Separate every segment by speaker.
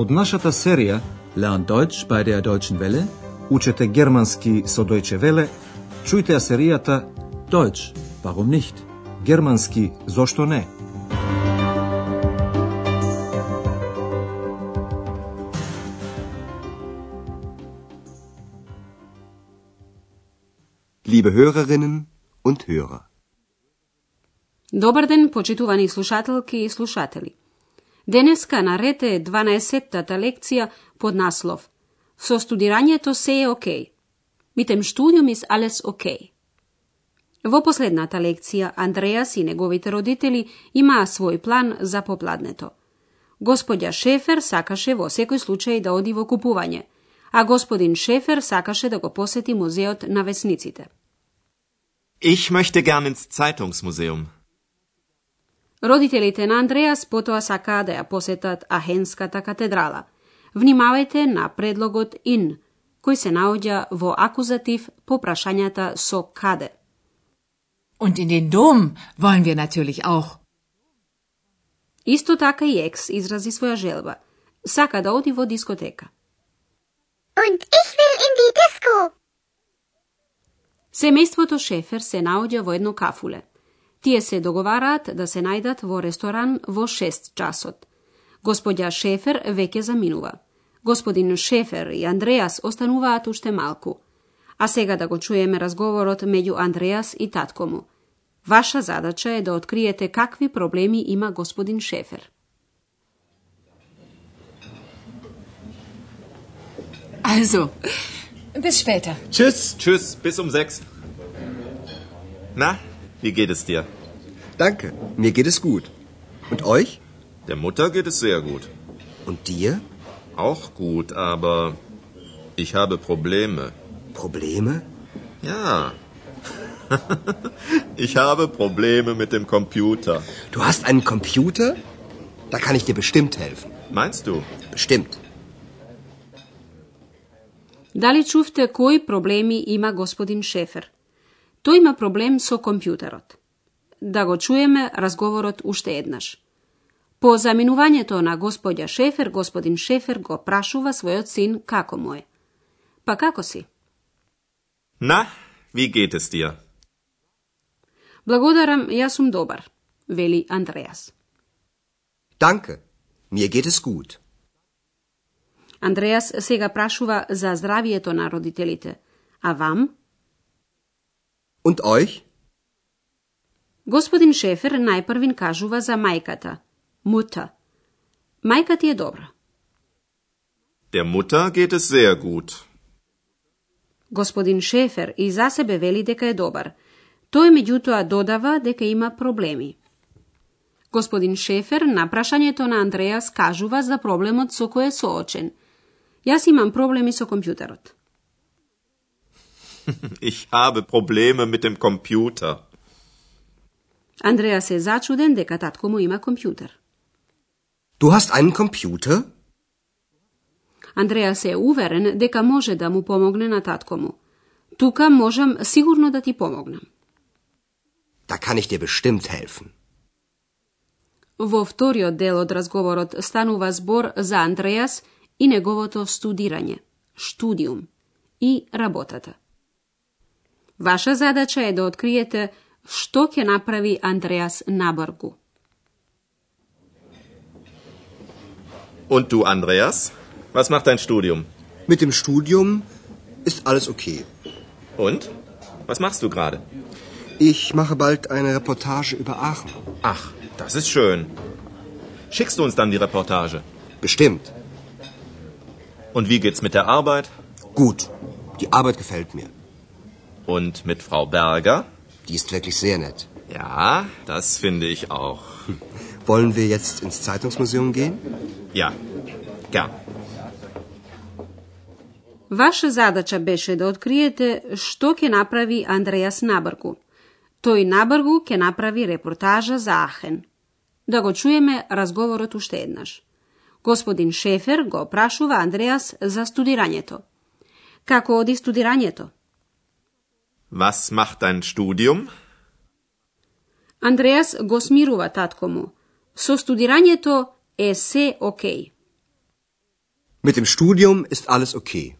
Speaker 1: Од нашата серија
Speaker 2: Lern Deutsch bei der Deutschen Welle.
Speaker 1: Учете германски со Дојче Веле, чујте ја серијата
Speaker 2: Deutsch, warum nicht?
Speaker 1: Германски зошто не?
Speaker 3: Liebe Hörerinnen und Hörer,
Speaker 4: Добар ден, почитувани слушателки и слушатели. Денеска наред е 12-тата лекција под наслов Со студирањето се е окей. Mit dem Studium ist alles окей. Во последната лекција, Андреас и неговите родители имаа свој план за попладнето. Господја Шефер сакаше во секој случај да оди во купување, а господин Шефер сакаше да го посети музеот на весниците.
Speaker 5: Ich möchte gern ins Zeitungsmuseum.
Speaker 4: Родителите на Андреас потоа сакаа да ја посетат Ахенската катедрала. Внимавајте на предлогот in, кој се наоѓа во акузатив по прашањата со каде.
Speaker 6: Und in den Dom wollen wir natürlich auch.
Speaker 4: Исто така и екс изрази своја желба. Сака да оди во дискотека.
Speaker 7: Und ich will in die Disco.
Speaker 4: Семејството Шефер се наоѓа во едно кафуле. Тие се договараат да се најдат во ресторан во 6 часот. Господја Шефер веќе заминува. Господин Шефер и Андреас остануваат уште малку. А сега да го чуеме разговорот меѓу Андреас и татко му. Ваша задача е да откриете какви проблеми има господин Шефер.
Speaker 6: Also, bis später.
Speaker 5: Tschüss, tschüss, bis um sechs. Na, wie geht es dir?
Speaker 3: danke, mir geht es gut. Und euch?
Speaker 5: Der Mutter geht es sehr gut.
Speaker 3: Und dir?
Speaker 5: Auch gut, aber ich habe Probleme.
Speaker 3: Probleme?
Speaker 5: Ja. ich habe Probleme mit dem Computer.
Speaker 3: Du hast einen Computer? Da kann ich dir bestimmt helfen.
Speaker 5: Meinst du?
Speaker 3: Bestimmt.
Speaker 4: Дали чувте кои проблеми има господин Шефер? Тој има проблем со компјутерот. Да го чуеме разговорот уште еднаш. По заминувањето на господја Шефер, господин Шефер го прашува својот син како му е. Па како си?
Speaker 5: Na, wie geht es dir?
Speaker 4: Благодарам, јас сум добар, вели Андреас.
Speaker 3: Danke, mir geht es gut.
Speaker 4: Андреас сега прашува за здравието на родителите. А вам?
Speaker 3: Und euch?
Speaker 4: Господин Шефер најпрвин кажува за мајката, мута. Мајка ти е добра.
Speaker 5: Der Mutter geht es sehr gut.
Speaker 4: Господин Шефер и за себе вели дека е добар. Тој меѓутоа додава дека има проблеми. Господин Шефер на прашањето на Андреас кажува за проблемот со кој е соочен. Јас имам проблеми со компјутерот.
Speaker 5: Ich habe Probleme mit dem Computer.
Speaker 4: Андреас е зачуден дека татко му има компјутер.
Speaker 3: Du hast einen Computer?
Speaker 4: Андреас е уверен дека може да му помогне на татко му. Тука можам сигурно да ти помогнам.
Speaker 3: Da kann ich dir bestimmt helfen.
Speaker 4: Во вториот дел од разговорот станува збор за Андреас и неговото студирање, штудиум и работата. Ваша задача е да откриете што ќе направи Андреас набргу.
Speaker 5: Und du, Andreas? Was macht dein Studium?
Speaker 3: Mit dem Studium ist alles okay.
Speaker 5: Und? Was machst du gerade?
Speaker 3: Ich mache bald eine Reportage über Aachen.
Speaker 5: Ach, das ist schön. Schickst du uns dann die Reportage?
Speaker 3: Bestimmt.
Speaker 5: Und wie geht's mit der Arbeit?
Speaker 3: Gut. Die Arbeit gefällt mir.
Speaker 5: Und mit Frau Berger?
Speaker 3: Die ist wirklich sehr nett.
Speaker 5: Ja, das finde ich auch.
Speaker 3: Wollen wir jetzt ins Zeitungsmuseum gehen?
Speaker 5: Ja, gern.
Speaker 4: Ваша задача беше да откриете што ќе направи Андреас набргу. Тој набргу ќе направи репортажа за Ахен. Да го чуеме разговорот уште еднаш. Господин Шефер го прашува Андреас за студирањето. Како оди студирањето?
Speaker 5: Was macht dein Studium?
Speaker 4: Андреас го смирува татко му. Со студирањето е се окей.
Speaker 3: Mit dem Studium ist alles okay.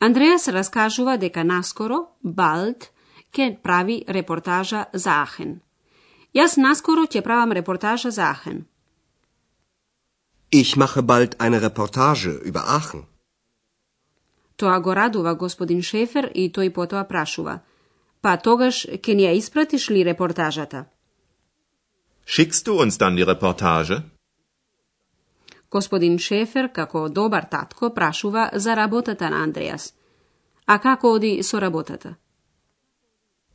Speaker 4: Andreas razkažuva дека наскоро, балд, ќе прави репортажа за Ахен. Јас наскоро ќе правам репортажа за Ахен.
Speaker 3: Ich mache bald eine Reportage über Aachen.
Speaker 4: Тоа го радува господин Шефер и тој потоа прашува. Па тогаш ќе ни ја испратиш ли репортажата?
Speaker 5: Schickst du uns dann die Reportage?
Speaker 4: Господин Шефер, како добар татко, прашува за работата на Андреас. А како оди со работата?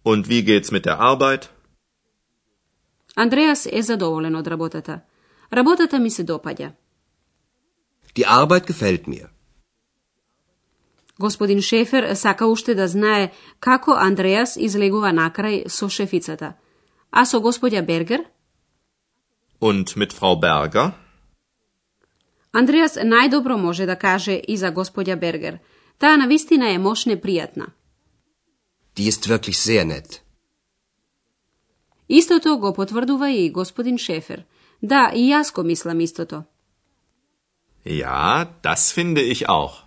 Speaker 5: Und wie geht's mit der Arbeit?
Speaker 4: Андреас е задоволен од работата. Работата ми се допаѓа.
Speaker 3: Die Arbeit gefällt mir.
Speaker 4: Господин Шефер сака уште да знае како Андреас излегува накрај со шефицата. А со господја Бергер?
Speaker 5: Und mit Frau Berger?
Speaker 4: Андреас најдобро може да каже и за господја Бергер. Таа навистина е мошне пријатна.
Speaker 3: Die ist wirklich sehr nett.
Speaker 4: Истото го потврдува и господин Шефер. Да, и јас го мислам истото.
Speaker 5: Ja, das finde ich auch.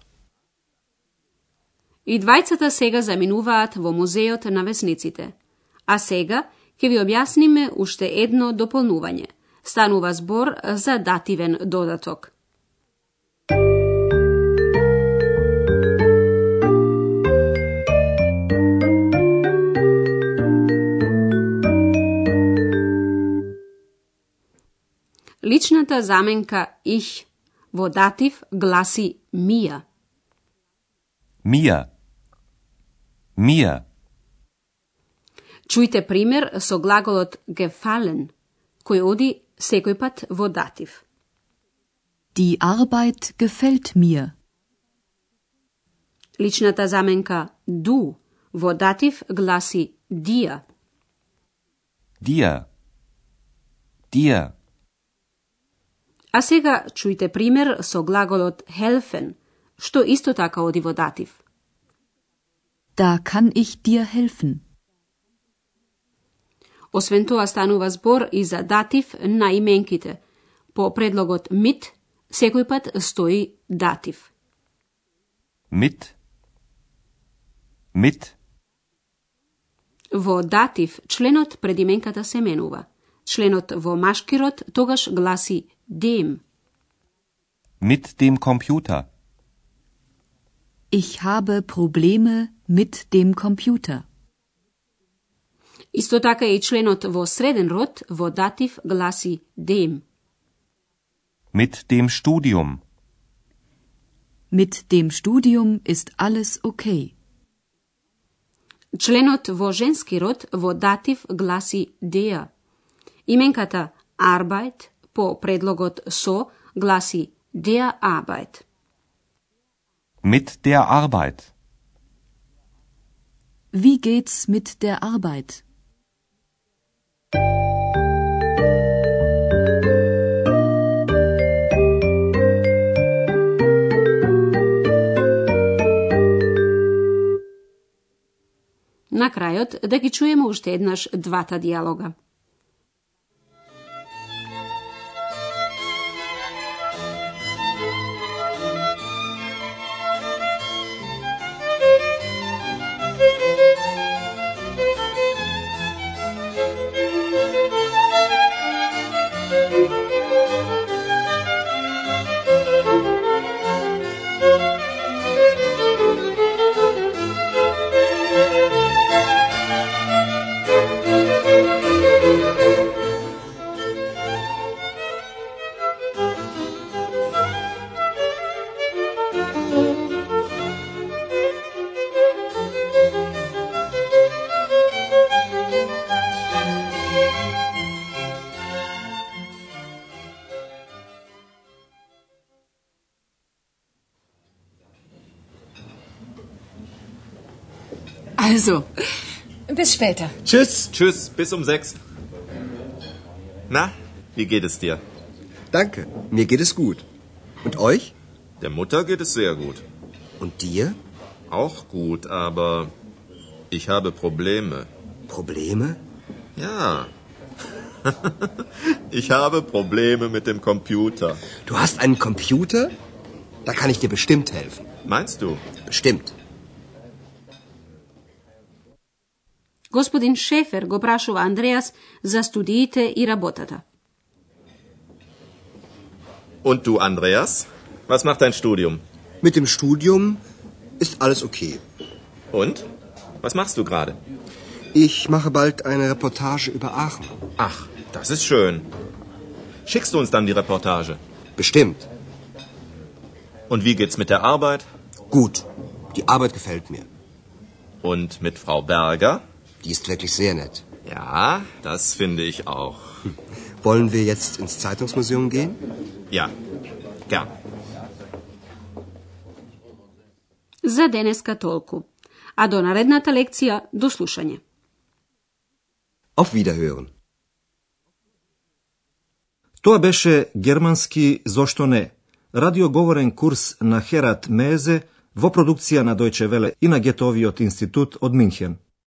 Speaker 4: И двајцата сега заминуваат во музеот на весниците. А сега ќе ви објасниме уште едно дополнување. Станува збор за дативен додаток. Личната заменка их во датив гласи мија.
Speaker 8: Mir. Mir.
Speaker 4: Чујте пример со глаголот gefallen, кој оди секој пат во датив.
Speaker 9: Die Arbeit gefällt mir.
Speaker 4: Личната заменка du во датив гласи dir.
Speaker 8: Dir. Dir.
Speaker 4: А сега чујте пример со глаголот helfen, што исто така оди во датив.
Speaker 9: Da kann ich dir helfen.
Speaker 4: Освен тоа станува збор и за датив на именките. По предлогот mit секој пат стои датив.
Speaker 8: Mit. Mit.
Speaker 4: Во датив членот пред именката се менува. Членот во машки род тогаш гласи dem.
Speaker 8: Mit dem Computer.
Speaker 9: Ich habe Probleme mit dem Computer.
Speaker 4: Исто така и членот во среден род во датив гласи dem.
Speaker 8: Mit dem Studium.
Speaker 9: Mit dem Studium ist alles okay.
Speaker 4: Членот во женски род во датив гласи der. Именката Arbeit по предлогот со гласи der Arbeit.
Speaker 8: Mit der Arbeit.
Speaker 9: Wie geht's mit der Arbeit?
Speaker 4: На крајот да ги чуеме уште еднаш двата дијалога.
Speaker 6: Also, bis später.
Speaker 5: Tschüss. Tschüss, bis um sechs. Na, wie geht es dir?
Speaker 3: Danke, mir geht es gut. Und euch?
Speaker 5: Der Mutter geht es sehr gut.
Speaker 3: Und dir?
Speaker 5: Auch gut, aber ich habe Probleme.
Speaker 3: Probleme?
Speaker 5: Ja. Ich habe Probleme mit dem Computer.
Speaker 3: Du hast einen Computer? Da kann ich dir bestimmt helfen.
Speaker 5: Meinst du?
Speaker 3: Bestimmt.
Speaker 4: Господин Шефер го прашува Андреас за студиите и работата.
Speaker 5: Und du, Andreas? Was macht dein Studium?
Speaker 3: Mit dem Studium ist alles okay.
Speaker 5: Und? Was machst du gerade?
Speaker 3: Ich mache bald eine Reportage über Aachen.
Speaker 5: Ach, das ist schön. Schickst du uns dann die Reportage?
Speaker 3: Bestimmt.
Speaker 5: Und wie geht's mit der Arbeit?
Speaker 3: Gut. Die Arbeit gefällt mir.
Speaker 5: Und mit Frau Berger?
Speaker 3: Die ist wirklich sehr nett.
Speaker 5: Ja, das finde ich auch.
Speaker 3: Wollen wir jetzt ins Zeitungsmuseum gehen?
Speaker 5: Ja, gern.
Speaker 4: За денеска толку. А до наредната лекција, до слушање.
Speaker 3: Auf Wiederhören.
Speaker 1: Тоа беше германски зошто не. Радиоговорен курс на Херат Мезе во продукција на Дојче Веле и на Гетовиот институт од Минхен.